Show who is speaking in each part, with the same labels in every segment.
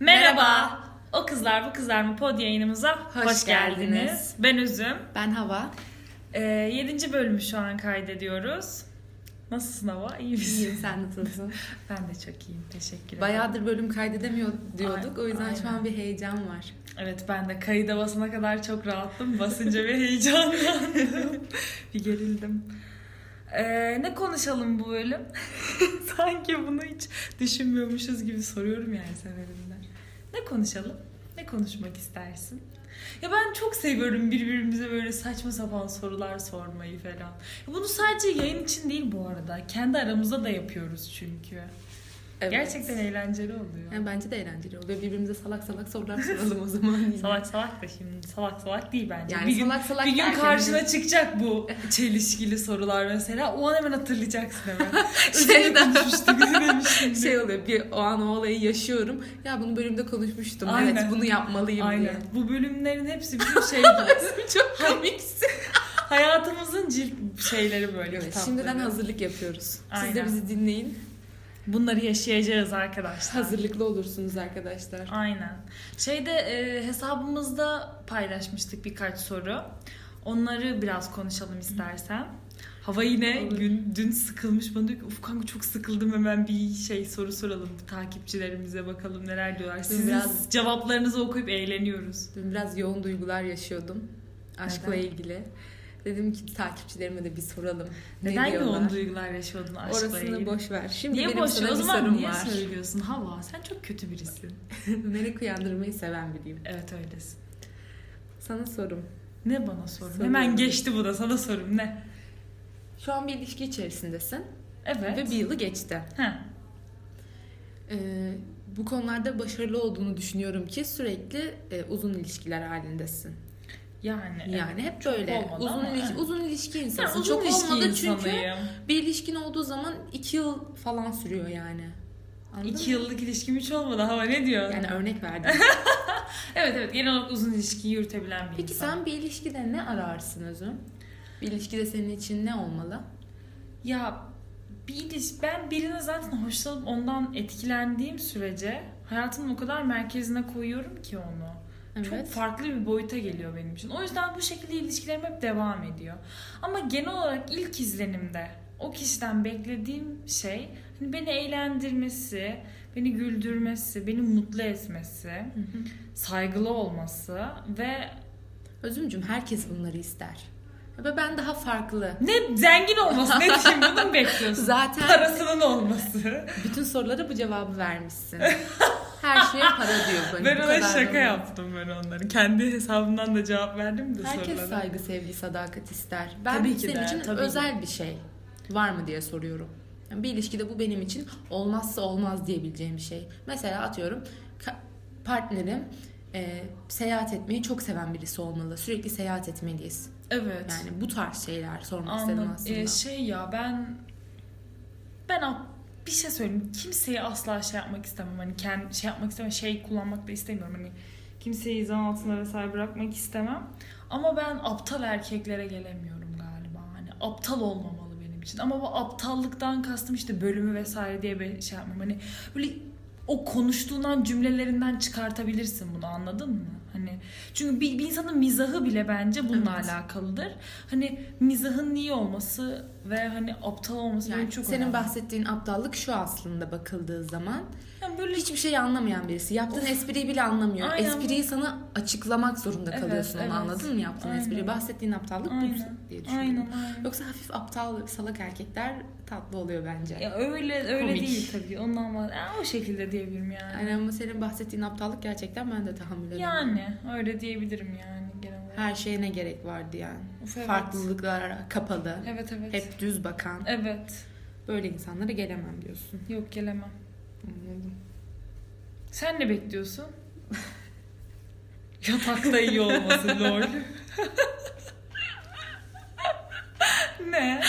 Speaker 1: Merhaba.
Speaker 2: Merhaba.
Speaker 1: O kızlar bu kızlar mı pod yayınımıza hoş,
Speaker 2: Hoş
Speaker 1: geldiniz.
Speaker 2: geldiniz.
Speaker 1: Ben Üzüm.
Speaker 2: Ben Hava.
Speaker 1: Ee, 7. bölümü şu an kaydediyoruz. Nasılsın Hava? İyi misin?
Speaker 2: İyiyim sen nasılsın?
Speaker 1: Ben de çok iyiyim. Teşekkür ederim.
Speaker 2: Bayağıdır bölüm kaydedemiyor diyorduk.
Speaker 1: Ay-
Speaker 2: o yüzden şu
Speaker 1: aynen.
Speaker 2: an bir heyecan var.
Speaker 1: Evet ben de kayıda basana kadar çok rahattım. Basınca bir heyecanlandım. bir gerildim. Ee, ne konuşalım bu bölüm? Sanki bunu hiç düşünmüyormuşuz gibi soruyorum yani sebebimden. Ne konuşalım? Ne konuşmak istersin? Ya ben çok seviyorum birbirimize böyle saçma sapan sorular sormayı falan. Ya Bunu sadece yayın için değil bu arada. Kendi aramızda da yapıyoruz çünkü. Gerçekten eğlenceli oluyor.
Speaker 2: Yani bence de eğlenceli oluyor. Birbirimize salak salak sorular soralım o zaman.
Speaker 1: Salak salak da şimdi salak salak değil bence.
Speaker 2: Yani
Speaker 1: bir gün,
Speaker 2: salak salak
Speaker 1: bir gün
Speaker 2: derken
Speaker 1: karşına
Speaker 2: biz-
Speaker 1: çıkacak bu çelişkili sorular mesela. O an hemen hatırlayacaksın hemen.
Speaker 2: Şey de-
Speaker 1: Üzerine konuşmuştuk, üzerine
Speaker 2: şey oluyor. Bir o an o olayı yaşıyorum. Ya bunu bölümde konuşmuştum.
Speaker 1: Aynen.
Speaker 2: Evet bunu yapmalıyım
Speaker 1: Aynen. Bu bölümlerin hepsi bir şey bu.
Speaker 2: diye. Çok komiksin.
Speaker 1: Hayatımızın cilt şeyleri böyle
Speaker 2: Evet,
Speaker 1: kitapları.
Speaker 2: şimdiden hazırlık yapıyoruz. Siz
Speaker 1: Aynen.
Speaker 2: de bizi dinleyin.
Speaker 1: Bunları yaşayacağız arkadaşlar.
Speaker 2: Hazırlıklı olursunuz arkadaşlar.
Speaker 1: Aynen. Şeyde e, hesabımızda paylaşmıştık birkaç soru. Onları biraz konuşalım istersen. Hava yine
Speaker 2: Olur.
Speaker 1: gün dün sıkılmış bana diyor ki uf kanka çok sıkıldım hemen bir şey soru soralım takipçilerimize bakalım neler diyorlar. Sizin
Speaker 2: Biraz-
Speaker 1: cevaplarınızı okuyup eğleniyoruz.
Speaker 2: Dün biraz yoğun duygular yaşıyordum. Aşkla
Speaker 1: Neden?
Speaker 2: ilgili. Dedim ki takipçilerime de bir soralım. Ne
Speaker 1: Neden
Speaker 2: diyorlar?
Speaker 1: yoğun duygular yaşıyordun aşkla
Speaker 2: Orasını
Speaker 1: ilgili?
Speaker 2: boş ver. Şimdi
Speaker 1: Niye
Speaker 2: benim
Speaker 1: boş?
Speaker 2: sana
Speaker 1: O
Speaker 2: bir
Speaker 1: zaman
Speaker 2: sorum
Speaker 1: niye
Speaker 2: var.
Speaker 1: söylüyorsun? Hava sen çok kötü birisin.
Speaker 2: Melek uyandırmayı seven biriyim.
Speaker 1: Evet öylesin.
Speaker 2: Sana sorum.
Speaker 1: Ne bana sorun?
Speaker 2: Soruyorum.
Speaker 1: Hemen geçti bu da sana sorum ne?
Speaker 2: Şu an bir ilişki içerisindesin
Speaker 1: Evet.
Speaker 2: ve bir yılı geçti.
Speaker 1: Heh.
Speaker 2: Ee, bu konularda başarılı olduğunu düşünüyorum ki sürekli e, uzun ilişkiler halindesin.
Speaker 1: Yani.
Speaker 2: Yani hep böyle.
Speaker 1: olmadı
Speaker 2: Uzun,
Speaker 1: ama
Speaker 2: ili-
Speaker 1: evet.
Speaker 2: uzun ilişki
Speaker 1: Ben
Speaker 2: insansın.
Speaker 1: uzun
Speaker 2: Çok
Speaker 1: ilişki
Speaker 2: olmadı çünkü
Speaker 1: insanıyım.
Speaker 2: bir ilişkin olduğu zaman iki yıl falan sürüyor yani. Anladın
Speaker 1: İki
Speaker 2: mı?
Speaker 1: yıllık ilişkim hiç olmadı. Hava ne diyorsun?
Speaker 2: Yani örnek verdim.
Speaker 1: Evet evet genel olarak uzun ilişki yürütebilen bir
Speaker 2: Peki
Speaker 1: insan.
Speaker 2: sen bir ilişkide ne ararsın Özüm? Bir ilişkide senin için ne olmalı?
Speaker 1: Ya bir iliş... ben birine zaten hoşlanıp ondan etkilendiğim sürece hayatımın o kadar merkezine koyuyorum ki onu. Çok farklı bir boyuta geliyor benim için. O yüzden bu şekilde ilişkilerim hep devam ediyor. Ama genel olarak ilk izlenimde o kişiden beklediğim şey hani beni eğlendirmesi, beni güldürmesi, beni mutlu etmesi.
Speaker 2: Hı hı.
Speaker 1: saygılı olması ve
Speaker 2: Özümcüm herkes bunları ister. Ve ben daha farklı.
Speaker 1: ne zengin olması ne diyeyim bunu mu bekliyorsun?
Speaker 2: Zaten
Speaker 1: Parasının olması.
Speaker 2: bütün sorulara bu cevabı vermişsin. Her şeye para diyor. Hani
Speaker 1: ben
Speaker 2: bu
Speaker 1: ona
Speaker 2: kadar
Speaker 1: şaka
Speaker 2: olmaz.
Speaker 1: yaptım ben onların. Kendi hesabımdan da cevap verdim de
Speaker 2: Herkes
Speaker 1: sorulara.
Speaker 2: saygı, sevgi, sadakat ister. Ben
Speaker 1: Tabii ki
Speaker 2: senin
Speaker 1: de,
Speaker 2: için
Speaker 1: tabii ki.
Speaker 2: özel bir şey var mı diye soruyorum. Yani bir ilişkide bu benim için olmazsa olmaz diyebileceğim bir şey. Mesela atıyorum ka- partnerim e, seyahat etmeyi çok seven birisi olmalı. Sürekli seyahat etmeliyiz.
Speaker 1: Evet.
Speaker 2: Yani bu tarz şeyler sormak istedim
Speaker 1: Anladım.
Speaker 2: aslında.
Speaker 1: Ee, şey ya ben ben a- bir şey söyleyeyim. Kimseyi asla şey yapmak istemem. Hani kendi şey yapmak istemem. Şey kullanmak da istemiyorum. Hani kimseyi zan altında vesaire bırakmak istemem. Ama ben aptal erkeklere gelemiyorum galiba. Hani aptal olmamalı benim için. Ama bu aptallıktan kastım işte bölümü vesaire diye bir şey yapmam. Hani böyle o konuştuğundan cümlelerinden çıkartabilirsin bunu anladın mı? Hani çünkü bir, bir insanın mizahı bile bence bununla
Speaker 2: Evet.
Speaker 1: alakalıdır. Hani mizahın iyi olması ve hani aptal olması benim
Speaker 2: Yani
Speaker 1: çok
Speaker 2: senin
Speaker 1: önemli.
Speaker 2: bahsettiğin aptallık şu aslında bakıldığı zaman.
Speaker 1: Yani böyle
Speaker 2: Hiçbir şey anlamayan birisi. Yaptığın espriyi bile anlamıyor.
Speaker 1: Aynen.
Speaker 2: Espriyi sana açıklamak zorunda
Speaker 1: Evet,
Speaker 2: kalıyorsun onu
Speaker 1: evet.
Speaker 2: anladın mı yaptığın
Speaker 1: Aynen.
Speaker 2: espriyi? Bahsettiğin aptallık bu
Speaker 1: Aynen.
Speaker 2: diye düşünüyorum.
Speaker 1: aynen aynen.
Speaker 2: Yoksa hafif aptal salak erkekler tatlı oluyor bence.
Speaker 1: Ya öyle öyle
Speaker 2: Komik.
Speaker 1: değil tabii. Ondan var. Yani o şekilde diyebilirim yani.
Speaker 2: Yani ama senin bahsettiğin aptallık gerçekten ben de tahammül edemem.
Speaker 1: Yani öyle diyebilirim yani genel olarak.
Speaker 2: Her şeye ne gerek vardı yani.
Speaker 1: Uf, evet.
Speaker 2: Farklılıklara kapalı,
Speaker 1: Evet evet.
Speaker 2: hep düz bakan.
Speaker 1: Evet.
Speaker 2: Böyle insanlara gelemem diyorsun.
Speaker 1: Yok gelemem.
Speaker 2: Anladım.
Speaker 1: Sen ne bekliyorsun? Yatakta iyi olması lol. ne?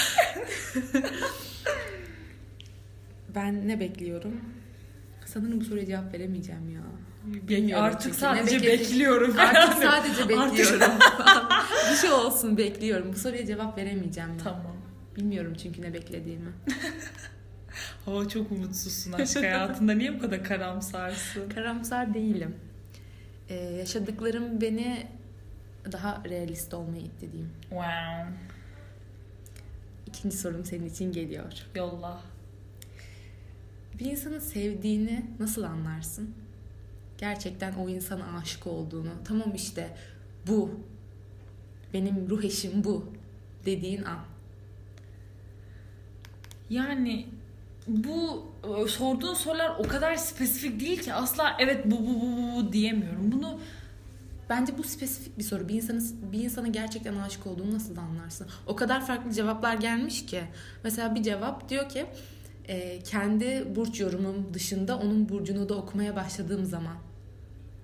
Speaker 2: Ben ne bekliyorum? Sanırım bu soruya cevap veremeyeceğim ya. Bilmiyorum
Speaker 1: Artık
Speaker 2: çünkü.
Speaker 1: sadece
Speaker 2: Ne bekledik-
Speaker 1: bekliyorum.
Speaker 2: Artık
Speaker 1: Yani.
Speaker 2: sadece bekliyorum. bir şey olsun bekliyorum. Bu soruya cevap veremeyeceğim ya.
Speaker 1: Tamam.
Speaker 2: Bilmiyorum çünkü ne beklediğimi.
Speaker 1: Hava çok umutsuzsun aşk hayatında. Niye bu kadar karamsarsın?
Speaker 2: Karamsar değilim. Ee, yaşadıklarım beni daha realist olmaya itti diyeyim.
Speaker 1: Wow.
Speaker 2: İkinci sorum senin için geliyor.
Speaker 1: Yolla.
Speaker 2: Bir insanı sevdiğini nasıl anlarsın? Gerçekten o insana aşık olduğunu, tamam işte bu, benim ruh eşim bu dediğin an.
Speaker 1: Yani bu e, sorduğun sorular o kadar spesifik değil ki asla evet bu bu bu bu, bu diyemiyorum. Bunu
Speaker 2: Bence bu spesifik bir soru. Bir insanın bir insana gerçekten aşık olduğunu nasıl anlarsın? O kadar farklı cevaplar gelmiş ki. Mesela bir cevap diyor ki e, kendi burç yorumum dışında onun burcunu da okumaya başladığım zaman.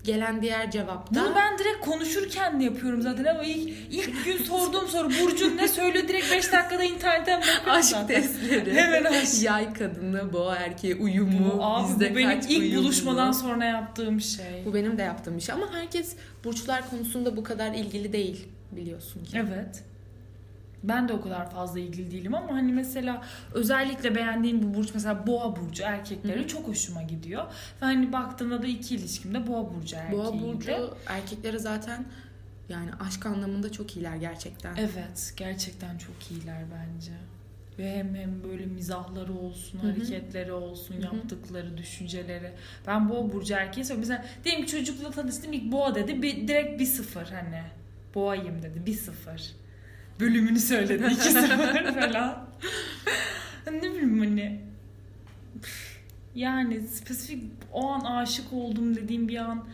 Speaker 2: Gelen diğer cevapta
Speaker 1: bunu ben direkt konuşurken de yapıyorum zaten ama ilk ilk gün sorduğum soru Burcu'nun ne söylüyor direkt 5 dakikada internetten bakıyorum
Speaker 2: aşk
Speaker 1: zaten.
Speaker 2: testleri.
Speaker 1: Hemen aşk.
Speaker 2: Yay kadını, boğa erkeği uyumu,
Speaker 1: Bu, abi
Speaker 2: bizde
Speaker 1: bu benim
Speaker 2: kaç
Speaker 1: ilk
Speaker 2: uyumlu.
Speaker 1: buluşmadan sonra yaptığım şey.
Speaker 2: Bu benim de yaptığım bir şey ama herkes burçlar konusunda bu kadar ilgili değil biliyorsun ki.
Speaker 1: Evet. Ben de o kadar fazla ilgili değilim ama hani mesela özellikle beğendiğin bir burç mesela boğa burcu erkekleri
Speaker 2: Hı hı.
Speaker 1: çok hoşuma gidiyor. Ve hani baktığımda da iki ilişkimde boğa burcu erkeğiydi.
Speaker 2: Boğa burcu erkeklere zaten yani aşk anlamında çok iyiler gerçekten.
Speaker 1: Evet gerçekten çok iyiler bence. Ve hem hem böyle mizahları olsun,
Speaker 2: Hı hı.
Speaker 1: hareketleri olsun,
Speaker 2: Hı hı.
Speaker 1: yaptıkları, düşünceleri. Ben boğa burcu erkeği seviyorum. Mesela diyelim ki çocukla tanıştım ilk boğa dedi. Bir, direkt bir sıfır hani. Boğayım dedi. Bir sıfır. Bölümünü söyledi. iki sıfır falan. ne bileyim hani. Yani spesifik o an aşık oldum dediğim bir an.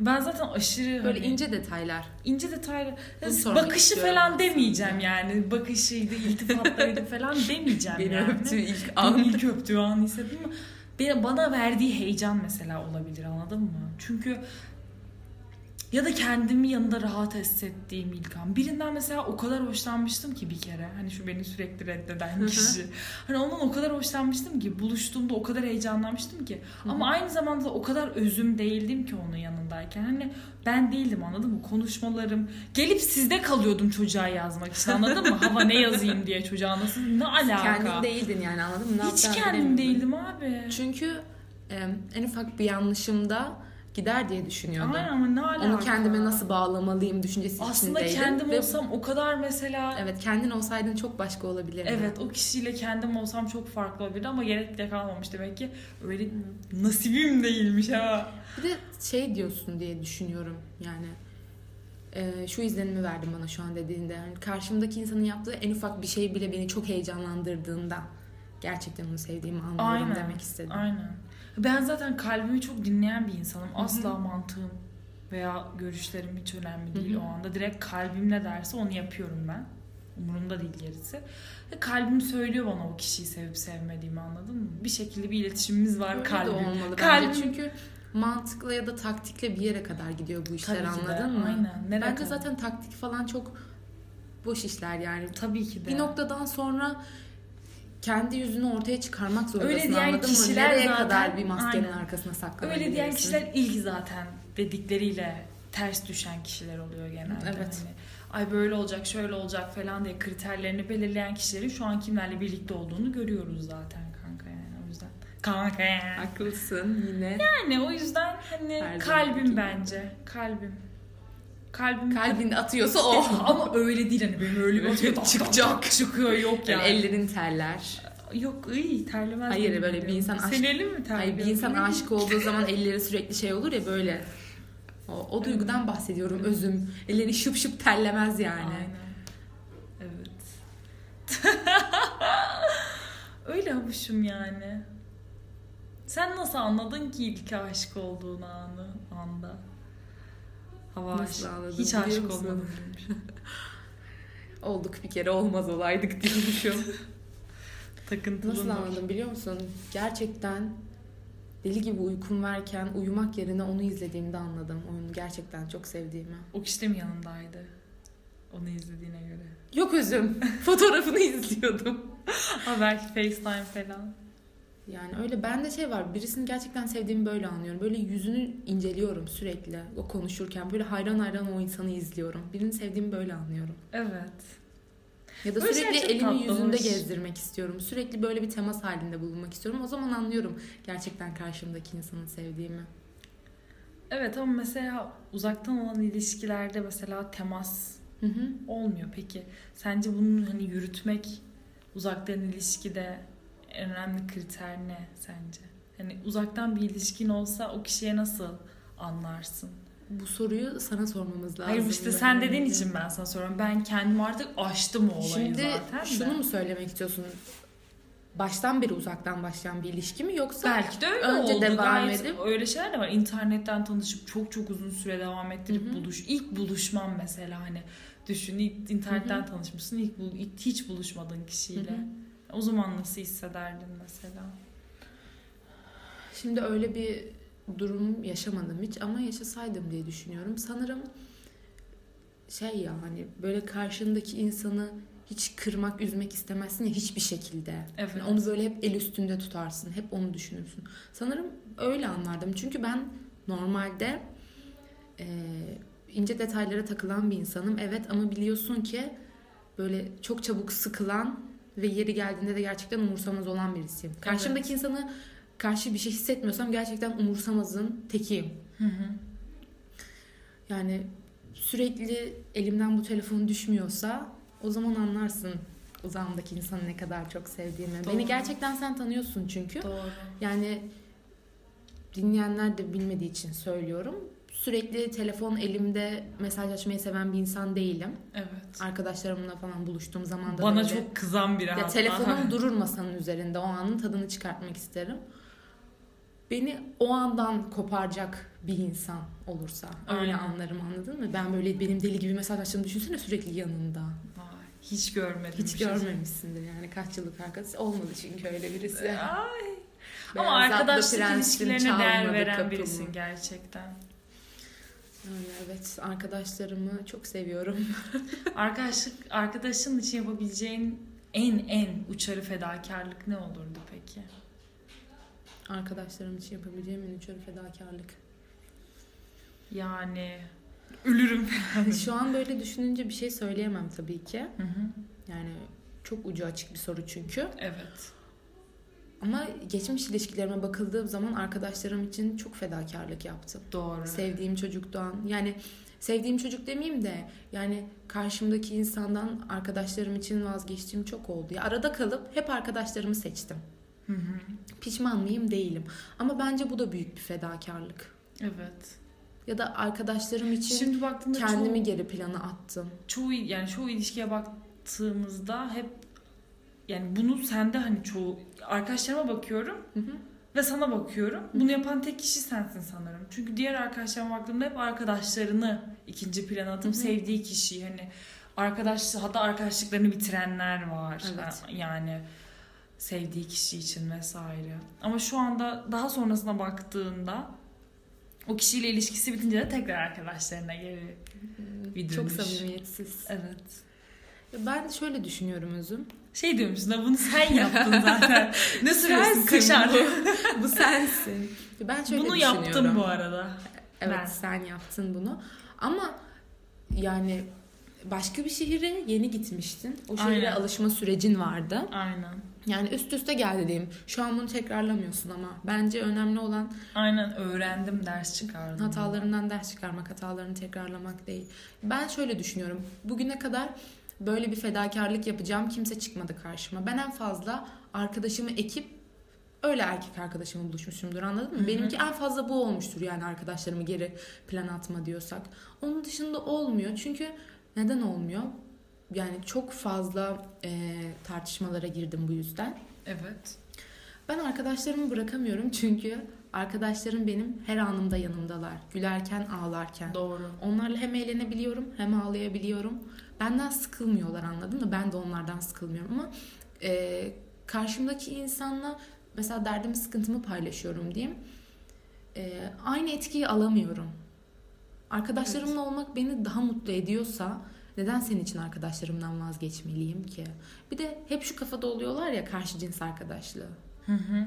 Speaker 1: Ben zaten aşırı
Speaker 2: Böyle
Speaker 1: hani-
Speaker 2: ince detaylar.
Speaker 1: İnce detaylı.
Speaker 2: Bunu sormak
Speaker 1: Bakışı
Speaker 2: istiyorum
Speaker 1: falan
Speaker 2: aslında.
Speaker 1: demeyeceğim yani. Bakışıydı, iltifatlarıydı falan demeyeceğim
Speaker 2: Beni
Speaker 1: yani.
Speaker 2: öptüğü ilk
Speaker 1: Beni
Speaker 2: an.
Speaker 1: ilk öptüğü an hissettim ama bana, bana verdiği heyecan mesela olabilir anladın mı? Çünkü ya da kendimi yanında rahat hissettiğim ilk an. Birinden mesela o kadar hoşlanmıştım ki bir kere. Hani şu beni sürekli reddeden
Speaker 2: hı.
Speaker 1: kişi. Hani ondan o kadar hoşlanmıştım ki buluştuğumda o kadar heyecanlanmıştım ki. Ama aynı zamanda da o kadar özüm değildim ki onun yanındayken. Hani ben değildim anladın mı? Konuşmalarım. Gelip sizde kalıyordum çocuğa yazmak için anladın mı? Hava ne yazayım diye çocuğa nasıl ne alaka?
Speaker 2: Kendin değildin yani anladın mı? Ne
Speaker 1: Hiç
Speaker 2: yapacağını
Speaker 1: kendim
Speaker 2: bilemiyordun.
Speaker 1: değildim abi.
Speaker 2: Çünkü e, en ufak bir yanlışımda gider diye düşünüyordum.
Speaker 1: Aynen ama ne alaka?
Speaker 2: Onu kendime nasıl bağlamalıyım düşüncesi
Speaker 1: Aslında
Speaker 2: içindeydim.
Speaker 1: kendim
Speaker 2: ve-
Speaker 1: olsam o kadar mesela
Speaker 2: Evet kendin olsaydın çok başka olabilirdi.
Speaker 1: Evet o kişiyle kendim olsam çok farklı olabilir ama gerek bile kalmamış demek ki öyle nasibim değilmiş ha.
Speaker 2: Bir de şey diyorsun diye düşünüyorum yani e, şu izlenimi verdin bana şu an dediğinde yani karşımdaki insanın yaptığı en ufak bir şey bile beni çok heyecanlandırdığında gerçekten onu sevdiğimi anlıyorum
Speaker 1: Aynen.
Speaker 2: demek istedim.
Speaker 1: Aynen. Ben zaten kalbimi çok dinleyen bir insanım. Asla mantığım veya görüşlerim hiç önemli değil
Speaker 2: Hı hı.
Speaker 1: o anda. Direkt kalbim ne derse onu yapıyorum ben. Umurumda değil gerisi. Ve kalbim söylüyor bana o kişiyi sevip sevmediğimi anladın mı? Bir şekilde bir iletişimimiz var
Speaker 2: Öyle de
Speaker 1: kalbim.
Speaker 2: olmalı
Speaker 1: Kalbim-
Speaker 2: bence çünkü mantıkla ya da taktikle bir yere kadar gidiyor bu işler
Speaker 1: Tabii ki de,
Speaker 2: anladın mı?
Speaker 1: Aynen. Nereye
Speaker 2: Bence
Speaker 1: kadar?
Speaker 2: zaten taktik falan çok boş işler yani.
Speaker 1: tabii ki de.
Speaker 2: Bir noktadan sonra kendi yüzünü ortaya çıkarmak zorundasın
Speaker 1: Öyle diyen
Speaker 2: anladın
Speaker 1: kişiler
Speaker 2: mı? Nereye
Speaker 1: zaten-
Speaker 2: kadar bir maskenin
Speaker 1: Aynen.
Speaker 2: arkasına saklanabilirsin?
Speaker 1: Öyle diyen kişiler ilk zaten dedikleriyle ters düşen kişiler oluyor genelde.
Speaker 2: Evet.
Speaker 1: Hani, Ay böyle olacak, şöyle olacak falan diye kriterlerini belirleyen kişilerin şu an kimlerle birlikte olduğunu görüyoruz zaten kanka yani o yüzden. Kanka yani.
Speaker 2: Haklısın yine.
Speaker 1: Yani o yüzden hani
Speaker 2: Her zamanki.
Speaker 1: kalbim bence. Kalbim. Kalbim.
Speaker 2: Kalbin atıyorsa o.
Speaker 1: Ama öyle değil hani benim öyle bir
Speaker 2: Öyle
Speaker 1: Tak, tak,
Speaker 2: Oh. çıkacak.
Speaker 1: tak çıkıyor yok
Speaker 2: Yani
Speaker 1: yani.
Speaker 2: ellerin terler.
Speaker 1: Yok iyi terlemez.
Speaker 2: Hayır,
Speaker 1: benim
Speaker 2: böyle bir
Speaker 1: diyorum.
Speaker 2: insan aşk-
Speaker 1: Senin elin mi terliyor?
Speaker 2: Ay bir insan
Speaker 1: Benim-
Speaker 2: aşık olduğu zaman elleri sürekli şey olur ya böyle. O, o duygudan bahsediyorum özüm. Elleri şıp şıp terlemez yani.
Speaker 1: Aynen. Evet. Öyle havuşum yani. Sen nasıl anladın ki ilk aşık olduğunu anı, anda? Hava
Speaker 2: Nasıl
Speaker 1: aşık-
Speaker 2: anladın
Speaker 1: Hiç
Speaker 2: biliyor
Speaker 1: aşık
Speaker 2: musun?
Speaker 1: olmadım.
Speaker 2: Olduk bir kere olmaz olaydık diyormuşum.
Speaker 1: Takıntılı
Speaker 2: Nasıl
Speaker 1: mı?
Speaker 2: anladım biliyor musun? Gerçekten deli gibi uykum varken uyumak yerine onu izlediğimde anladım. Oyunu gerçekten çok sevdiğimi.
Speaker 1: O kişi de mi yanındaydı? Onu izlediğine göre.
Speaker 2: Yok özüm. Fotoğrafını izliyordum.
Speaker 1: Ha belki FaceTime falan.
Speaker 2: Yani öyle bende şey var birisini gerçekten sevdiğimi böyle anlıyorum. Böyle yüzünü inceliyorum sürekli o konuşurken. Böyle hayran hayran o insanı izliyorum. Birini sevdiğimi böyle anlıyorum.
Speaker 1: Evet.
Speaker 2: Ya da
Speaker 1: Böyle
Speaker 2: sürekli
Speaker 1: şeyler çok
Speaker 2: elimi
Speaker 1: tatlı
Speaker 2: yüzünde
Speaker 1: hoş.
Speaker 2: gezdirmek istiyorum. Sürekli böyle bir temas halinde bulunmak istiyorum. O zaman anlıyorum gerçekten karşımdaki insanı sevdiğimi.
Speaker 1: Evet ama mesela uzaktan olan ilişkilerde mesela temas
Speaker 2: Hı hı.
Speaker 1: olmuyor. Peki sence bunu hani yürütmek uzaktan ilişkide en önemli kriter ne sence? Hani uzaktan bir ilişkin olsa o kişiye nasıl anlarsın?
Speaker 2: Bu soruyu sana sormamız lazım.
Speaker 1: Hayır işte sen dediğin için ben sana soruyorum. Ben kendim artık aştım o olayı
Speaker 2: Şimdi
Speaker 1: zaten. de.
Speaker 2: şunu mu söylemek istiyorsun? Baştan beri uzaktan başlayan bir ilişki mi yoksa
Speaker 1: Belki de öyle
Speaker 2: önce
Speaker 1: oldu.
Speaker 2: devam
Speaker 1: Gayet
Speaker 2: edip-
Speaker 1: Öyle şeyler de var. İnternetten tanışıp çok çok uzun süre devam ettirip
Speaker 2: Hı hı.
Speaker 1: buluş. ilk buluşmam mesela hani düşün ilk internetten tanışmışsın ilk, bul- ilk hiç buluşmadığın kişiyle.
Speaker 2: Hı hı.
Speaker 1: O zaman nasıl hissederdin mesela?
Speaker 2: Şimdi öyle bir durum yaşamadım hiç ama yaşasaydım diye düşünüyorum. Sanırım şey ya hani böyle karşındaki insanı hiç kırmak, üzmek istemezsin ya hiçbir şekilde.
Speaker 1: Evet.
Speaker 2: Yani Hani onu böyle hep el üstünde tutarsın, hep onu düşünürsün. Sanırım öyle anlardım. Çünkü ben normalde e, ince detaylara takılan bir insanım. Evet ama biliyorsun ki böyle çok çabuk sıkılan ve yeri geldiğinde de gerçekten umursamaz olan birisiyim. Karşımdaki insanı karşı bir şey hissetmiyorsam gerçekten umursamazın tekiyim.
Speaker 1: Hı hı.
Speaker 2: Yani sürekli elimden bu telefon düşmüyorsa o zaman anlarsın uzağımdaki insanı ne kadar çok sevdiğimi.
Speaker 1: Doğru.
Speaker 2: Beni gerçekten sen tanıyorsun çünkü.
Speaker 1: Doğru.
Speaker 2: Yani dinleyenler de bilmediği için söylüyorum. Sürekli telefon elimde mesaj açmayı seven bir insan değilim.
Speaker 1: Evet.
Speaker 2: Arkadaşlarımla falan buluştuğum zaman da
Speaker 1: Bana
Speaker 2: böyle-
Speaker 1: çok kızan biri
Speaker 2: ya
Speaker 1: hatta.
Speaker 2: telefonum durur masanın üzerinde. O anın tadını çıkartmak isterim. Beni o andan koparacak bir insan olursa öyle
Speaker 1: Aynen.
Speaker 2: anlarım anladın mı? Ben böyle benim deli gibi mesaj açtığımı düşünsene sürekli yanında.
Speaker 1: Vay, hiç görmedim.
Speaker 2: Hiç
Speaker 1: bir şey.
Speaker 2: görmemişsindir yani kaç yıllık arkadaş olmadı çünkü öyle birisi.
Speaker 1: Ay.
Speaker 2: Beyaz
Speaker 1: Ama
Speaker 2: atlı
Speaker 1: arkadaşlık
Speaker 2: prensim
Speaker 1: ilişkilerine değer
Speaker 2: çalmadı
Speaker 1: veren
Speaker 2: kapımı.
Speaker 1: birisin gerçekten.
Speaker 2: Yani evet arkadaşlarımı çok seviyorum.
Speaker 1: Arkadaşlık, arkadaşın için yapabileceğin en en uçarı fedakarlık ne olurdu peki?
Speaker 2: Arkadaşlarım için yapabileceğim en uçarı fedakarlık.
Speaker 1: Yani ölürüm.
Speaker 2: Şu an böyle düşününce bir şey söyleyemem tabii ki.
Speaker 1: Hı hı.
Speaker 2: Yani çok ucu açık bir soru çünkü.
Speaker 1: evet.
Speaker 2: Ama geçmiş ilişkilerime bakıldığım zaman arkadaşlarım için çok fedakarlık yaptım.
Speaker 1: Doğru.
Speaker 2: Sevdiğim çocuktan yani sevdiğim çocuk demeyeyim de yani karşımdaki insandan arkadaşlarım için vazgeçtiğim çok oldu. Ya arada kalıp hep arkadaşlarımı seçtim.
Speaker 1: Hı hı.
Speaker 2: Pişman mıyım? Değilim. Ama bence bu da büyük bir fedakarlık.
Speaker 1: evet.
Speaker 2: Ya da arkadaşlarım için
Speaker 1: Şimdi baktığımda
Speaker 2: kendimi geri plana attım.
Speaker 1: çoğu, çoğu yani çoğu ilişkiye baktığımızda hep yani bunu sende hani çoğu arkadaşlarıma bakıyorum
Speaker 2: Hı hı.
Speaker 1: ve sana bakıyorum. Bunu yapan tek kişi sensin sanırım. Çünkü diğer arkadaşlarıma baktığımda hep arkadaşlarını ikinci plana atıp
Speaker 2: Hı hı.
Speaker 1: sevdiği kişiyi hani arkadaş hatta arkadaşlıklarını bitirenler var.
Speaker 2: Evet.
Speaker 1: Yani sevdiği kişi için vesaire. Ama şu anda daha sonrasına baktığında o kişiyle ilişkisi bitince de tekrar arkadaşlarına geri. Bir
Speaker 2: çok
Speaker 1: dönüş.
Speaker 2: samimiyetsiz.
Speaker 1: Evet.
Speaker 2: Ya Ben şöyle düşünüyorum Özüm.
Speaker 1: Şey diyormuşsun da bunu sen yaptın zaten. ne sürüyorsun
Speaker 2: Sensin
Speaker 1: kaşar?
Speaker 2: Bu sensin. Ben şöyle
Speaker 1: Bunu
Speaker 2: düşünüyorum.
Speaker 1: yaptım bu arada.
Speaker 2: Evet
Speaker 1: Ben.
Speaker 2: sen yaptın bunu. Ama yani başka bir şehire yeni gitmiştin. O şehire
Speaker 1: Aynen.
Speaker 2: alışma sürecin vardı.
Speaker 1: Aynen.
Speaker 2: Yani üst üste gel dediğim. Şu an bunu tekrarlamıyorsun ama bence önemli olan
Speaker 1: Aynen öğrendim ders çıkardım.
Speaker 2: hatalarından ders çıkarmak, hatalarını tekrarlamak değil. Ben şöyle düşünüyorum. Bugüne kadar böyle bir fedakarlık yapacağım kimse çıkmadı karşıma. Ben en fazla arkadaşımı ekip öyle erkek arkadaşımı buluşmuşumdur anladın mı?
Speaker 1: Hı hı.
Speaker 2: Benimki en fazla bu olmuştur yani arkadaşlarımı geri plan atma diyorsak. Onun dışında olmuyor çünkü neden olmuyor? Yani çok fazla eee, tartışmalara girdim bu yüzden.
Speaker 1: Evet.
Speaker 2: Ben arkadaşlarımı bırakamıyorum çünkü arkadaşlarım benim her anımda yanımdalar. Gülerken, ağlarken.
Speaker 1: Doğru.
Speaker 2: Onlarla hem eğlenebiliyorum hem ağlayabiliyorum. Benden sıkılmıyorlar anladın mı? Ben de onlardan sıkılmıyorum ama e, karşımdaki insanla mesela derdimi sıkıntımı paylaşıyorum diyeyim. E, aynı etkiyi alamıyorum. Arkadaşlarımla olmak beni daha mutlu ediyorsa neden senin için arkadaşlarımdan vazgeçmeliyim ki? Bir de hep şu kafada oluyorlar ya karşı cins arkadaşlığı.
Speaker 1: Hı hı.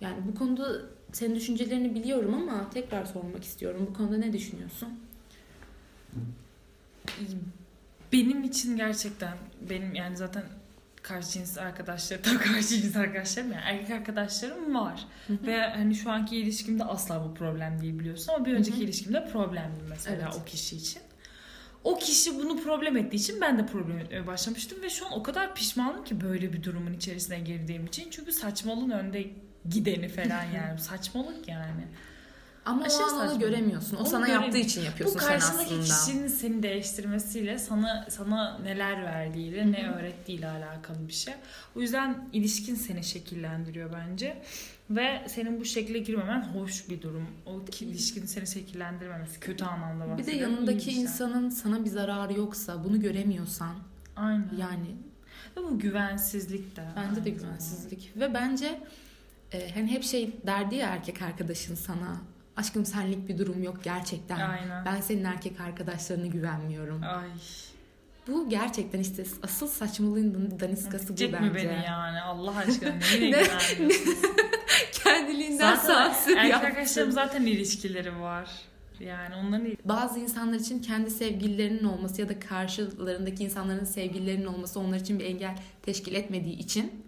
Speaker 2: Yani bu konuda senin düşüncelerini biliyorum ama tekrar sormak istiyorum. Bu konuda ne düşünüyorsun?
Speaker 1: Benim için gerçekten benim yani zaten karşı cins arkadaşlarım, tabii karşı cins arkadaşlarım yani erkek arkadaşlarım var. Ve hani şu anki ilişkimde asla bu problem değil biliyorsun ama bir
Speaker 2: Hı hı.
Speaker 1: önceki ilişkimde problemdi mesela
Speaker 2: Evet.
Speaker 1: o kişi için. O kişi bunu problem ettiği için ben de problem etmeye başlamıştım ve şu an o kadar pişmanım ki böyle bir durumun içerisine girdiğim için. Çünkü saçmalığın önde gideni falan yani. Saçmalık yani.
Speaker 2: Ama
Speaker 1: Aşırı
Speaker 2: o an onu
Speaker 1: saçma.
Speaker 2: göremiyorsun. O
Speaker 1: Onu
Speaker 2: sana
Speaker 1: göremiyorum.
Speaker 2: yaptığı için
Speaker 1: Bu
Speaker 2: yapıyorsun sen
Speaker 1: karşındaki
Speaker 2: aslında.
Speaker 1: kişinin seni değiştirmesiyle sana sana neler verdiğiyle, ne
Speaker 2: Hı hı.
Speaker 1: öğrettiğiyle alakalı bir şey. O yüzden ilişkin seni şekillendiriyor bence. Ve senin bu şekle girmemen hoş bir durum. O ki- ilişkin seni şekillendirmemesi kötü anlamda
Speaker 2: Bir de
Speaker 1: bahsediyorum. İyi
Speaker 2: yanındaki
Speaker 1: bir şey.
Speaker 2: insanın sana bir zararı yoksa, bunu göremiyorsan
Speaker 1: Aynen.
Speaker 2: yani
Speaker 1: Ve bu güvensizlik de.
Speaker 2: Bence de
Speaker 1: aynı
Speaker 2: güvensizlik. Ve bence e, hani hep şey derdi ya erkek arkadaşın sana. Aşkım senlik bir durum yok gerçekten.
Speaker 1: zamanda. Aynen.
Speaker 2: Ben senin erkek arkadaşlarına güvenmiyorum.
Speaker 1: Ay.
Speaker 2: Bu gerçekten işte asıl saçmalığın daniskası bu
Speaker 1: Cek
Speaker 2: bence.
Speaker 1: mi beni yani Allah aşkına neyine
Speaker 2: Ne-
Speaker 1: güvenmiyorsun?
Speaker 2: Kendiliğinden
Speaker 1: Zaten
Speaker 2: sansür
Speaker 1: erkek
Speaker 2: yaptın.
Speaker 1: arkadaşlarım zaten ilişkileri var. Yani onların
Speaker 2: Bazı insanlar için kendi sevgililerinin olması ya da karşılarındaki insanların sevgililerinin olması onlar için bir engel teşkil etmediği için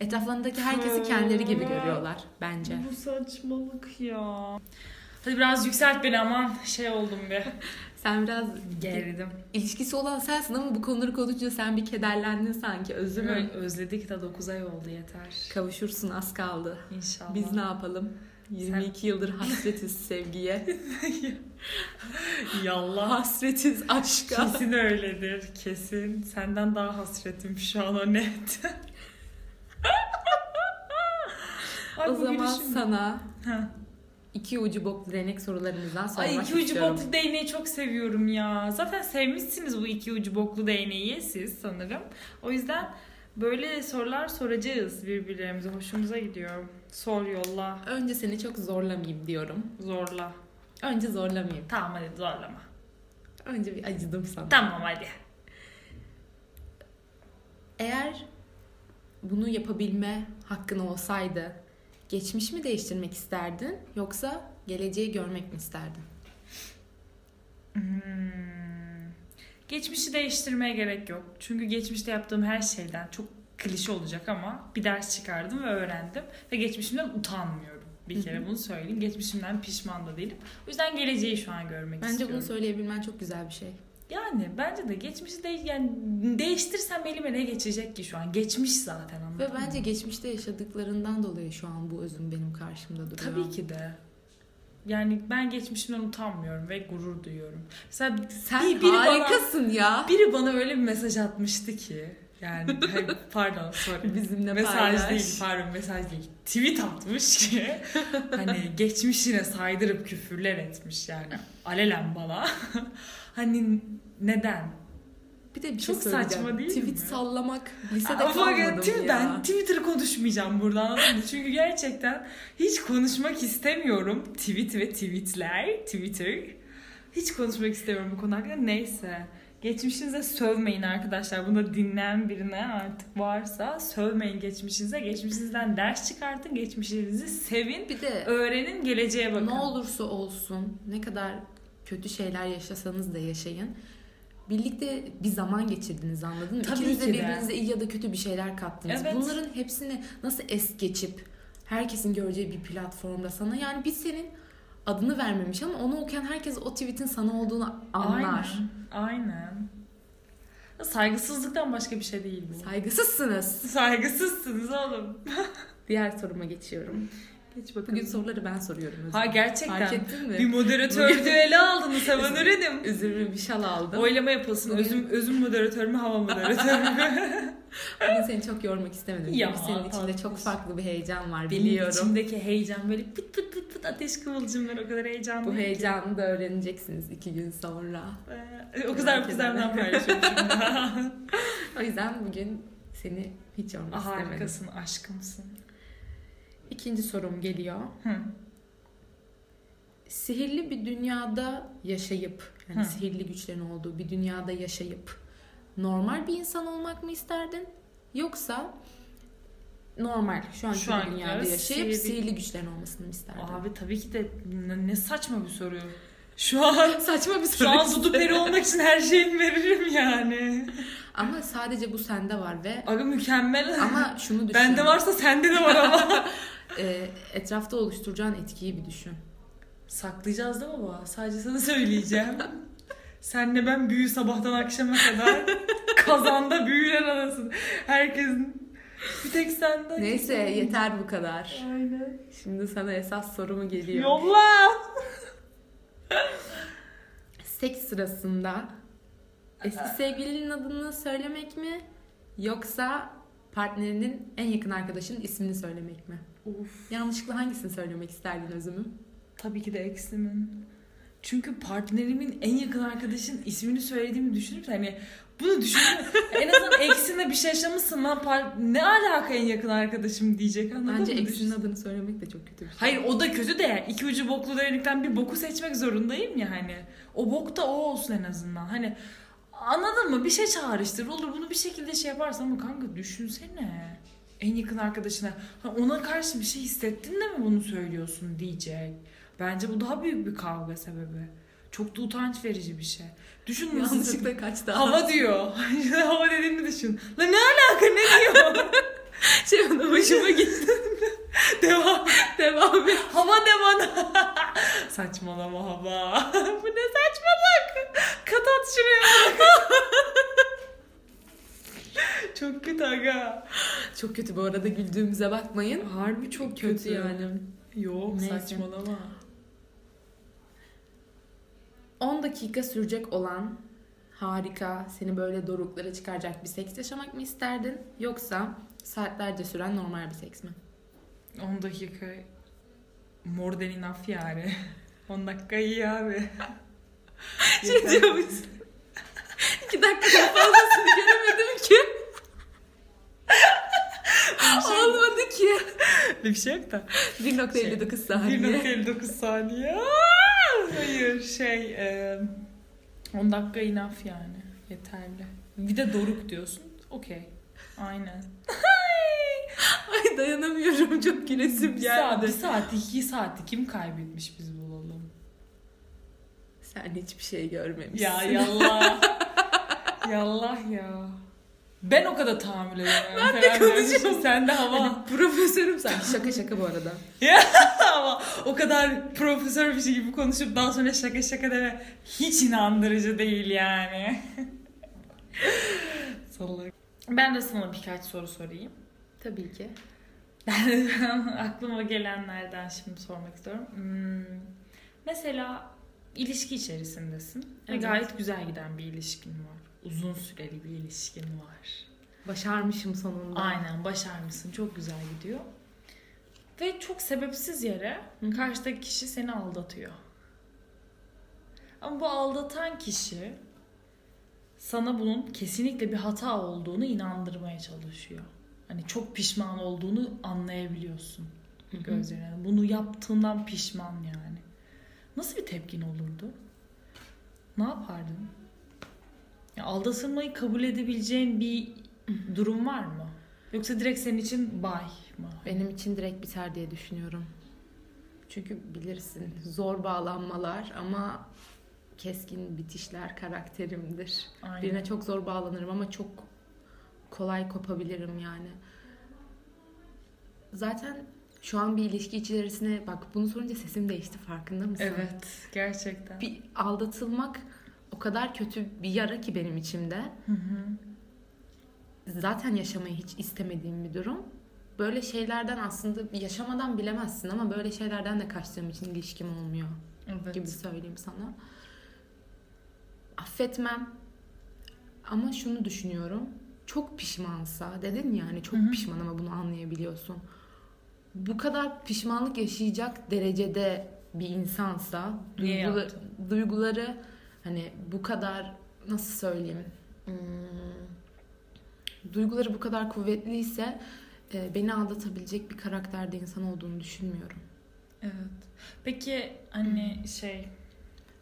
Speaker 2: etraflarındaki
Speaker 1: Hmm.
Speaker 2: herkesi kendileri gibi görüyorlar bence.
Speaker 1: Bu saçmalık ya. Hadi biraz yükselt beni aman şey oldum be.
Speaker 2: Sen biraz
Speaker 1: Geridim.
Speaker 2: İlişkisi olan sensin ama bu konuları konuşunca sen bir kederlendin sanki özlü mü?
Speaker 1: Özledik de 9 ay oldu yeter.
Speaker 2: Kavuşursun az kaldı.
Speaker 1: İnşallah.
Speaker 2: Biz ne yapalım? 22 yıldır hasretiz sevgiye.
Speaker 1: Yallah.
Speaker 2: Hasretiz aşka.
Speaker 1: Kesin öyledir. Kesin. Senden daha hasretim şu an o net. Ay,
Speaker 2: o
Speaker 1: bu
Speaker 2: zaman
Speaker 1: gülüşüm-
Speaker 2: sana
Speaker 1: Ha.
Speaker 2: iki ucu boklu denek sorularımızdan sormak
Speaker 1: Ay iki ucu
Speaker 2: istiyorum.
Speaker 1: boklu değneği çok seviyorum ya. Zaten sevmişsiniz bu iki ucu boklu değneği siz sanırım. O yüzden böyle sorular soracağız birbirlerimize. Hoşumuza gidiyor. Sor yolla.
Speaker 2: Önce seni çok zorlamayayım diyorum.
Speaker 1: Zorla.
Speaker 2: Önce zorlamayayım.
Speaker 1: Tamam hadi zorlama.
Speaker 2: Önce bir acıdım sana.
Speaker 1: Tamam hadi.
Speaker 2: Eğer bunu yapabilme hakkın olsaydı geçmiş mi değiştirmek isterdin yoksa geleceği görmek mi isterdin?
Speaker 1: Hmm. Geçmişi değiştirmeye gerek yok. Çünkü geçmişte yaptığım her şeyden çok klişe olacak ama bir ders çıkardım ve öğrendim. Ve geçmişimden utanmıyorum. Bir
Speaker 2: Hı
Speaker 1: kere bunu söyleyeyim. Geçmişimden pişman da değilim. O yüzden geleceği şu an görmek
Speaker 2: Bence
Speaker 1: istiyorum.
Speaker 2: bunu söyleyebilmen çok güzel bir şey.
Speaker 1: Yani bence de geçmişi de yani değiştirsem elime ne geçecek ki şu an? Geçmiş zaten anladın
Speaker 2: Ve bence geçmişte yaşadıklarından dolayı şu an bu özüm benim karşımda duruyor.
Speaker 1: Tabii ki de. Yani ben geçmişimden utanmıyorum ve gurur duyuyorum. Mesela
Speaker 2: Sen
Speaker 1: bir- biri bana,
Speaker 2: harikasın ya.
Speaker 1: biri bana öyle bir mesaj atmıştı ki. Yani hayır, pardon sorry.
Speaker 2: Bizimle
Speaker 1: mesaj
Speaker 2: paylaş.
Speaker 1: değil pardon mesaj değil. Tweet atmış ki hani geçmişine saydırıp küfürler etmiş yani. Alelen bana. hani neden?
Speaker 2: Bir de bir
Speaker 1: Çok
Speaker 2: şey söyleyeceğim.
Speaker 1: saçma değil
Speaker 2: Tweet
Speaker 1: mi?
Speaker 2: sallamak lisede
Speaker 1: Ama
Speaker 2: kalmadım
Speaker 1: Twitter-
Speaker 2: ya.
Speaker 1: Ben Twitter'ı konuşmayacağım burada anladın mı? Çünkü gerçekten hiç konuşmak istemiyorum. Tweet ve tweetler, Twitter. Hiç konuşmak istemiyorum bu konu hakkında. Neyse. Geçmişinize sövmeyin arkadaşlar. Bunu dinleyen birine artık varsa sövmeyin geçmişinize. Geçmişinizden ders çıkartın. Geçmişinizi sevin.
Speaker 2: Bir de
Speaker 1: Öğrenin geleceğe bakın.
Speaker 2: ne olursa olsun ne kadar kötü şeyler yaşasanız da yaşayın. Birlikte bir zaman geçirdiniz anladın mı?
Speaker 1: Tabii
Speaker 2: İkiniz de
Speaker 1: ki de.
Speaker 2: birbirinize iyi ya da kötü bir şeyler kattınız.
Speaker 1: Evet.
Speaker 2: Bunların hepsini nasıl es geçip herkesin göreceği bir platformda sana yani biz senin adını vermemiş ama onu okuyan herkes o tweetin sana olduğunu anlar.
Speaker 1: Aynen. Aynen. Saygısızlıktan başka bir şey değil bu.
Speaker 2: Saygısızsınız.
Speaker 1: Saygısızsınız oğlum.
Speaker 2: Diğer soruma geçiyorum.
Speaker 1: Geç bakalım.
Speaker 2: Bugün soruları ben soruyorum. Özür.
Speaker 1: Ha gerçekten.
Speaker 2: Fark ettin
Speaker 1: Bir
Speaker 2: mi?
Speaker 1: moderatör düeli aldınız hemen öğrenim.
Speaker 2: Üzümü bir şal aldım.
Speaker 1: Oylama yapılsın.
Speaker 2: Bugün-
Speaker 1: Özüm, özüm moderatör mü hava moderatör mü?
Speaker 2: Bugün seni çok yormak istemedim.
Speaker 1: Ya,
Speaker 2: Çünkü senin içinde
Speaker 1: tatlış.
Speaker 2: çok farklı bir heyecan var
Speaker 1: Benim
Speaker 2: biliyorum.
Speaker 1: içimdeki heyecan böyle pıt pıt pıt pıt ateş kıvılcımlar o kadar heyecanlı.
Speaker 2: Bu
Speaker 1: ki.
Speaker 2: heyecanı da öğreneceksiniz iki gün sonra.
Speaker 1: Ee, o kızar bu kızardan paylaşıyorum şimdi.
Speaker 2: O yüzden bugün seni hiç yormak
Speaker 1: Ah,
Speaker 2: istemedim.
Speaker 1: Harikasın, aşkımsın.
Speaker 2: İkinci sorum geliyor.
Speaker 1: Hı.
Speaker 2: Sihirli bir dünyada yaşayıp, yani
Speaker 1: Hı.
Speaker 2: sihirli güçlerin olduğu bir dünyada yaşayıp normal bir insan olmak mı isterdin? Yoksa normal şu anki
Speaker 1: Şu anki,
Speaker 2: dünyada
Speaker 1: evet,
Speaker 2: yaşayıp
Speaker 1: sihirli-
Speaker 2: sihirli güçlerin olmasını mı isterdin?
Speaker 1: Abi tabii ki de ne, ne saçma bir soru. Şu an
Speaker 2: Saçma bir soru.
Speaker 1: şu an
Speaker 2: işte.
Speaker 1: Dudu Peri olmak için her şeyimi veririm yani.
Speaker 2: Ama sadece bu sende var ve
Speaker 1: Aga mükemmel.
Speaker 2: ama şunu düşün.
Speaker 1: Bende varsa sende de var ama.
Speaker 2: Ee, etrafta oluşturacağın etkiyi bir düşün.
Speaker 1: Saklayacağız değil mi baba? Sadece sana söyleyeceğim. Senle ben büyü sabahtan akşama kadar kazanda büyüler arasın. Herkesin. Bir tek sende.
Speaker 2: Neyse yeter bu kadar.
Speaker 1: Aynen.
Speaker 2: Şimdi sana esas sorumu geliyor.
Speaker 1: Yolla.
Speaker 2: Seks sırasında eski sevgilinin adını söylemek mi yoksa partnerinin en yakın arkadaşının ismini söylemek mi?
Speaker 1: Of.
Speaker 2: Yanlışlıkla hangisini söylemek isterdin özümüm?
Speaker 1: Tabii ki de eksimin. Çünkü partnerimin en yakın arkadaşın ismini söylediğimi düşünüp hani bunu düşünüp en azından eksine bir şey yaşamışsın lan par- ne alaka en yakın arkadaşım diyecek anladın
Speaker 2: Bence
Speaker 1: mı?
Speaker 2: eksinin
Speaker 1: Düşün-
Speaker 2: adını söylemek de çok kötü bir şey.
Speaker 1: Hayır o da kötü de yani iki ucu boklu derinlikten bir boku seçmek zorundayım ya hani. O bok da o olsun en azından. Hani anladın mı? Bir şey çağrıştır. Olur bunu bir şekilde şey yaparsan ama kanka düşünsene. En yakın arkadaşına "Ha, ona karşı bir şey hissettin de mi bunu söylüyorsun diyecek. Bence bu daha büyük bir kavga sebebi. Çok da utanç verici bir şey. Düşün nasıl-
Speaker 2: Yanlışlıkla kaçtı.
Speaker 1: Hava diyor. Hava dediğini düşün. La ne alaka ne diyor?
Speaker 2: şey bana hoşuma gitti.
Speaker 1: Devam.
Speaker 2: Devam et.
Speaker 1: Hava de bana. Saçmalama hava. Bu ne saçmalık. Kat at şuraya. Çok kötü aga.
Speaker 2: Çok kötü bu arada güldüğümüze bakmayın.
Speaker 1: Harbi çok
Speaker 2: Kötü yani.
Speaker 1: Yok
Speaker 2: Neyse.
Speaker 1: saçmalama.
Speaker 2: 10 dakika sürecek olan harika, seni böyle doruklara çıkaracak bir seks yaşamak mı isterdin? Yoksa saatlerce süren normal bir seks mi?
Speaker 1: 10 dakika more than enough yani. 10 dakika iyi abi.
Speaker 2: Şey diyormuş. 2 dakika fazlasını göremedim ki. Olmadı ki.
Speaker 1: Bir şey yok da.
Speaker 2: 1.59 saniye.
Speaker 1: 1.59 saniye. Aa, Hayır şey e, 10 dakika enough yani yeterli. Bir de doruk diyorsun. Okey. Aynen.
Speaker 2: Ay dayanamıyorum çok gülesim
Speaker 1: Bir saat, bir
Speaker 2: geldi.
Speaker 1: saat, iki saati kim kaybetmiş biz bulalım.
Speaker 2: Sen hiçbir şey görmemişsin.
Speaker 1: Ya yallah. yallah ya. Ben o kadar tahammül edemem. Ben
Speaker 2: de konuşuyorum.
Speaker 1: Sen de hava.
Speaker 2: Hani profesörüm sen. Şaka şaka bu arada.
Speaker 1: Ama o kadar profesör bir şey gibi konuşup daha sonra şaka şaka deme. Hiç inandırıcı değil yani. Salak. Ben de sana birkaç soru sorayım.
Speaker 2: Tabii ki.
Speaker 1: aklıma gelenlerden şimdi sormak istiyorum. Hmm, Mesela ilişki içerisindesin ve
Speaker 2: Evet.
Speaker 1: gayet güzel giden bir ilişkin var. Uzun süreli bir ilişkin var.
Speaker 2: Başarmışım sonunda.
Speaker 1: Aynen başarmışsın çok güzel gidiyor. Ve çok sebepsiz yere
Speaker 2: Hı.
Speaker 1: karşıdaki kişi seni aldatıyor. Ama bu aldatan kişi sana bunun kesinlikle bir hata olduğunu inandırmaya çalışıyor. Hani çok pişman olduğunu anlayabiliyorsun
Speaker 2: Hı hı.
Speaker 1: gözlerine. Bunu yaptığından pişman yani. Nasıl bir tepkin olurdu? Ne yapardın? Ya aldatılmayı kabul edebileceğin bir durum var mı? Yoksa direkt senin için bay mı?
Speaker 2: Benim için direkt biter diye düşünüyorum. Çünkü bilirsin zor bağlanmalar ama keskin bitişler karakterimdir.
Speaker 1: Aynen.
Speaker 2: Birine çok zor bağlanırım ama çok kolay kopabilirim yani. Zaten şu an bir ilişki içerisine bak bunu sorunca sesim değişti farkında mısın?
Speaker 1: Evet, gerçekten.
Speaker 2: Bir aldatılmak o kadar kötü bir yara ki benim içimde.
Speaker 1: Hı hı.
Speaker 2: zaten yaşamayı hiç istemediğim bir durum. Böyle şeylerden aslında yaşamadan bilemezsin ama böyle şeylerden de kaçtığım için ilişkim olmuyor
Speaker 1: Evet.
Speaker 2: gibi söyleyeyim sana. Affetmem. Ama şunu düşünüyorum. Çok pişmansa dedin ya hani çok
Speaker 1: Hı hı.
Speaker 2: pişman ama bunu anlayabiliyorsun. Bu kadar pişmanlık yaşayacak derecede bir insansa
Speaker 1: Niye
Speaker 2: duygula-
Speaker 1: yaptın?
Speaker 2: duyguları hani bu kadar nasıl söyleyeyim Hmm, duyguları bu kadar kuvvetliyse e, beni aldatabilecek bir karakterde insan olduğunu düşünmüyorum.
Speaker 1: Evet. Peki anne şey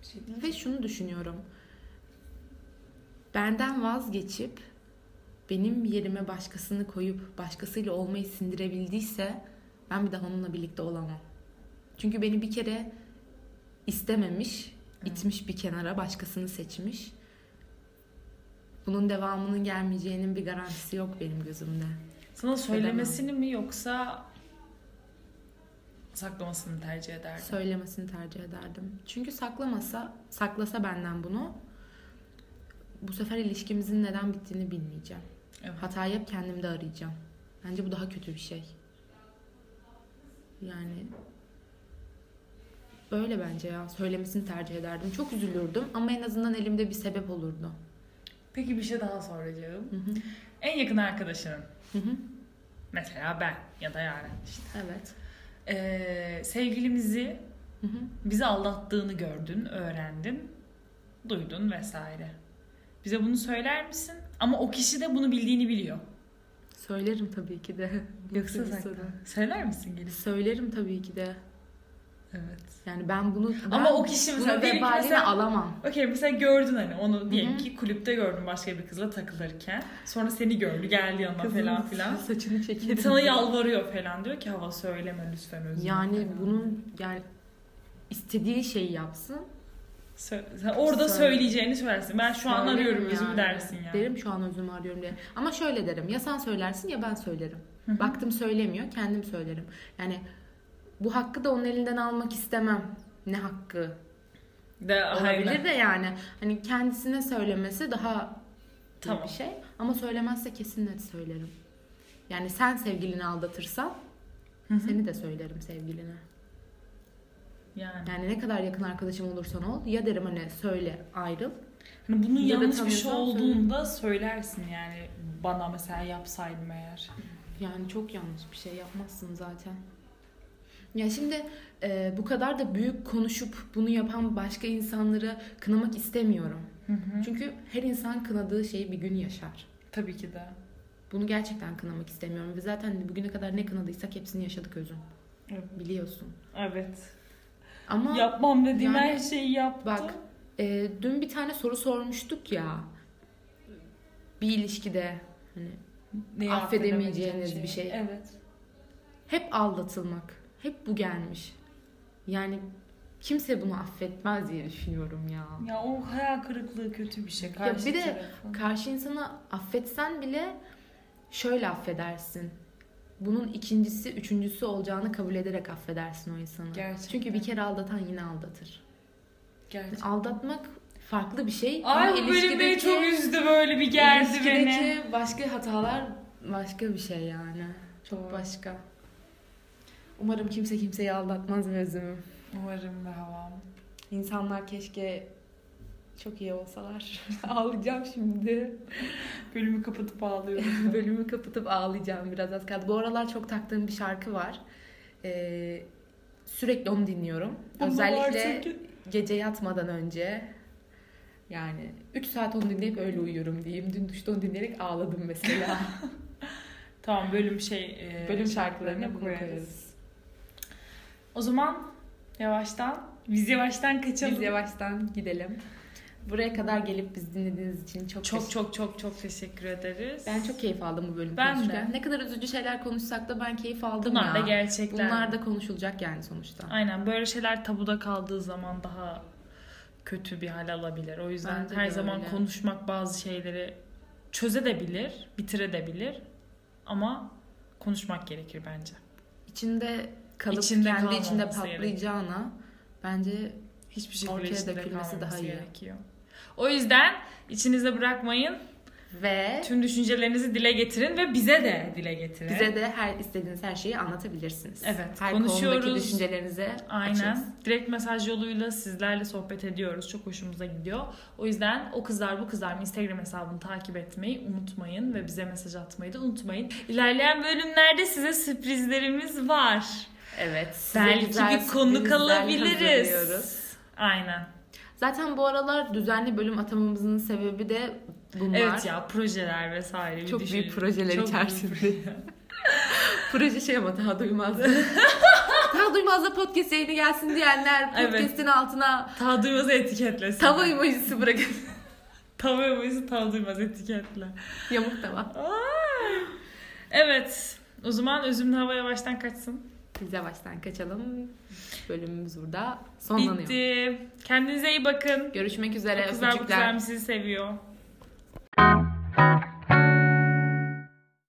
Speaker 1: şey
Speaker 2: Ve şunu düşünüyorum. Benden vazgeçip benim yerime başkasını koyup başkasıyla olmayı sindirebildiyse ben bir daha onunla birlikte olamam. Çünkü beni bir kere istememiş itmiş bir kenara, başkasını seçmiş. Bunun devamının gelmeyeceğinin bir garantisi yok benim gözümde.
Speaker 1: Sana söylemesini mi yoksa saklamasını mı tercih ederdin?
Speaker 2: Söylemesini tercih ederdim. Çünkü saklamasa, saklasa benden bunu bu sefer ilişkimizin neden bittiğini bilmeyeceğim.
Speaker 1: Evet.
Speaker 2: Hatayı hep kendimde arayacağım. Bence bu daha kötü bir şey. Yani böyle bence ya. Söylemesini tercih ederdim. Çok üzülürdüm ama en azından elimde bir sebep olurdu.
Speaker 1: Peki bir şey daha soracağım.
Speaker 2: Hı hı.
Speaker 1: En yakın arkadaşının
Speaker 2: Hı hı.
Speaker 1: mesela ben ya da Yaren işte.
Speaker 2: evet.
Speaker 1: Ee, sevgilimizi
Speaker 2: Hı hı.
Speaker 1: bizi aldattığını gördün, öğrendin, duydun vesaire. Bize bunu söyler misin? Ama o kişi de bunu bildiğini biliyor.
Speaker 2: Söylerim tabii ki de. Yoksa bir
Speaker 1: Sakla.
Speaker 2: soru.
Speaker 1: Söyler misin gelip?
Speaker 2: Söylerim tabii ki de.
Speaker 1: Evet.
Speaker 2: Yani ben bunu ben
Speaker 1: Ama o kişi
Speaker 2: bunu
Speaker 1: mesela diyelim ki
Speaker 2: vebalini
Speaker 1: mesela-
Speaker 2: alamam.
Speaker 1: Okey mesela gördün hani onu diyelim
Speaker 2: Hı hı.
Speaker 1: ki kulüpte gördün başka bir kızla takılırken. Sonra seni gördü geldi yanına falan filan.
Speaker 2: Saçını çekerim.
Speaker 1: Sana yalvarıyor falan diyor ki hava söyleme lütfen özür
Speaker 2: Yani
Speaker 1: falan.
Speaker 2: bunun yani istediği şeyi yapsın.
Speaker 1: Sö- sen orada
Speaker 2: Söyle.
Speaker 1: söyleyeceğini söylersin. Ben şu an
Speaker 2: Söylerim
Speaker 1: arıyorum özür
Speaker 2: yani.
Speaker 1: dersin yani.
Speaker 2: Derim şu an özümü arıyorum diye. Ama şöyle derim. Ya sen söylersin ya ben söylerim.
Speaker 1: Hı hı.
Speaker 2: Baktım söylemiyor kendim söylerim. Yani bu hakkı da onun elinden almak istemem. Ne hakkı?
Speaker 1: de, hayır.
Speaker 2: Olabilir de yani. Hani kendisine söylemesi daha iyi
Speaker 1: Tamam.
Speaker 2: bir şey. Ama söylemezse kesinlikle söylerim. Yani sen sevgilini aldatırsan
Speaker 1: Hı hı.
Speaker 2: seni de söylerim sevgiline.
Speaker 1: Yani.
Speaker 2: Yani ne kadar yakın arkadaşım olursan ol ya derim hani söyle ayrıl.
Speaker 1: Hani bunun
Speaker 2: Ya da
Speaker 1: yanlış bir şey
Speaker 2: tanıyorsan
Speaker 1: olduğunda söylersin yani bana mesela yapsaydım eğer.
Speaker 2: Yani çok yanlış bir şey yapmazsın zaten. Ya şimdi e, bu kadar da büyük konuşup bunu yapan başka insanları kınamak istemiyorum.
Speaker 1: Hı hı.
Speaker 2: Çünkü her insan kınadığı şeyi bir gün yaşar.
Speaker 1: Tabii ki de.
Speaker 2: Bunu gerçekten kınamak istemiyorum. Ve zaten bugüne kadar ne kınadıysak hepsini yaşadık özüm.
Speaker 1: Evet.
Speaker 2: Biliyorsun.
Speaker 1: Evet.
Speaker 2: Ama
Speaker 1: Yapmam dediğim
Speaker 2: yani-
Speaker 1: her şeyi yaptı.
Speaker 2: Bak e, dün bir tane soru sormuştuk ya. Bir ilişkide hani
Speaker 1: Neyi
Speaker 2: affedemeyeceğiniz
Speaker 1: affedemeyeceğim
Speaker 2: bir şey.
Speaker 1: Evet.
Speaker 2: Hep aldatılmak. Hep bu gelmiş. Yani kimse bunu affetmez diye düşünüyorum ya.
Speaker 1: Ya o hayal kırıklığı kötü bir şey. Karşı
Speaker 2: bir de
Speaker 1: tarafın.
Speaker 2: Karşı insanı affetsen bile şöyle affedersin. Bunun ikincisi, üçüncüsü olacağını kabul ederek affedersin o insanı.
Speaker 1: Gerçekten.
Speaker 2: Çünkü bir kere aldatan yine aldatır. Yani
Speaker 1: Gerçekten.
Speaker 2: aldatmak farklı bir şey.
Speaker 1: Ay
Speaker 2: ama
Speaker 1: bu bölüm beni
Speaker 2: ilişkideki-
Speaker 1: çok üzdü böyle bir gerdi beni.
Speaker 2: ilişkideki başka hatalar başka bir şey yani. Çok
Speaker 1: Doğru.
Speaker 2: başka. Umarım kimse kimseyi aldatmaz mevzumu.
Speaker 1: Umarım ve havam.
Speaker 2: İnsanlar keşke çok iyi olsalar. Ağlayacağım şimdi.
Speaker 1: Bölümü kapatıp ağlıyorum.
Speaker 2: Bölümü kapatıp ağlayacağım biraz az kaldı. Bu aralar çok taktığım bir şarkı var. Ee, sürekli onu dinliyorum. Özellikle gece yatmadan önce. Yani 3 saat onu dinleyip öyle uyuyorum diyeyim. Dün duşta onu dinleyerek ağladım mesela. Ee,
Speaker 1: Tamam bölüm şey e,
Speaker 2: Bölüm şarkılarını
Speaker 1: bunu
Speaker 2: koyarız.
Speaker 1: O zaman yavaştan biz yavaştan kaçalım.
Speaker 2: Biz yavaştan gidelim. Buraya kadar gelip biz dinlediğiniz için çok
Speaker 1: Çok
Speaker 2: teşekkür-
Speaker 1: çok çok çok teşekkür ederiz.
Speaker 2: Ben çok keyif aldım bu bölümü
Speaker 1: Ben de.
Speaker 2: konuşurken. Ne kadar üzücü şeyler konuşsak da ben keyif aldım
Speaker 1: bunlar da
Speaker 2: ya.
Speaker 1: gerçekler.
Speaker 2: Bunlar da konuşulacak yani sonuçta.
Speaker 1: Aynen böyle şeyler tabuda kaldığı zaman daha kötü bir hal alabilir. O yüzden
Speaker 2: Bence
Speaker 1: her
Speaker 2: de
Speaker 1: zaman
Speaker 2: öyle.
Speaker 1: konuşmak bazı şeyleri çözebilir, bitirebilir ama konuşmak gerekir bence.
Speaker 2: İçinde kalıp
Speaker 1: İçinde
Speaker 2: kendi içinde
Speaker 1: kalmaması
Speaker 2: patlayacağına bence
Speaker 1: Hiçbir şekilde
Speaker 2: Ortaya
Speaker 1: içinde
Speaker 2: dökülmesi
Speaker 1: kalmaması
Speaker 2: daha iyi.
Speaker 1: gerekiyor. O yüzden içinizde bırakmayın.
Speaker 2: ve
Speaker 1: Tüm düşüncelerinizi dile getirin ve bize de dile getirin.
Speaker 2: bize de her istediğiniz her şeyi anlatabilirsiniz.
Speaker 1: Evet,
Speaker 2: Her
Speaker 1: konuşuyoruz.
Speaker 2: konudaki düşüncelerinize
Speaker 1: Aynen.
Speaker 2: açığız.
Speaker 1: Direkt mesaj yoluyla sizlerle sohbet ediyoruz. Çok hoşumuza gidiyor. O yüzden o kızlar bu kızlar Instagram hesabını takip etmeyi unutmayın ve bize mesaj atmayı da unutmayın. İlerleyen bölümlerde size sürprizlerimiz var.
Speaker 2: Evet. size
Speaker 1: Belki
Speaker 2: güzel
Speaker 1: bir konuk
Speaker 2: sürprizler hazırlıyoruz.
Speaker 1: alabiliriz. Aynen.
Speaker 2: Zaten bu aralar düzenli bölüm atamamızın sebebi de bunlar.
Speaker 1: Evet ya projeler vesaire. bir
Speaker 2: Çok
Speaker 1: düşünün.
Speaker 2: büyük projeler
Speaker 1: Çok büyük
Speaker 2: içerisinde.
Speaker 1: proje.
Speaker 2: Proje şey ama daha duymazdı. daha duymazda podcast yayını gelsin diyenler
Speaker 1: Evet.
Speaker 2: podcast'in altına
Speaker 1: Tav duymazı etiketlesin.
Speaker 2: tava emojisi bırakın.
Speaker 1: Tav emojisi tav duymaz etiketle.
Speaker 2: Yamuk tava.
Speaker 1: Ay. Evet. O zaman özümlü hava yavaştan kaçsın.
Speaker 2: Biz yavaştan kaçalım. Bölümümüz burada sonlanıyor.
Speaker 1: Bitti. Kendinize iyi bakın.
Speaker 2: Görüşmek üzere.
Speaker 1: Kızlar bu
Speaker 2: öpücükler.
Speaker 1: güzel sizi seviyor.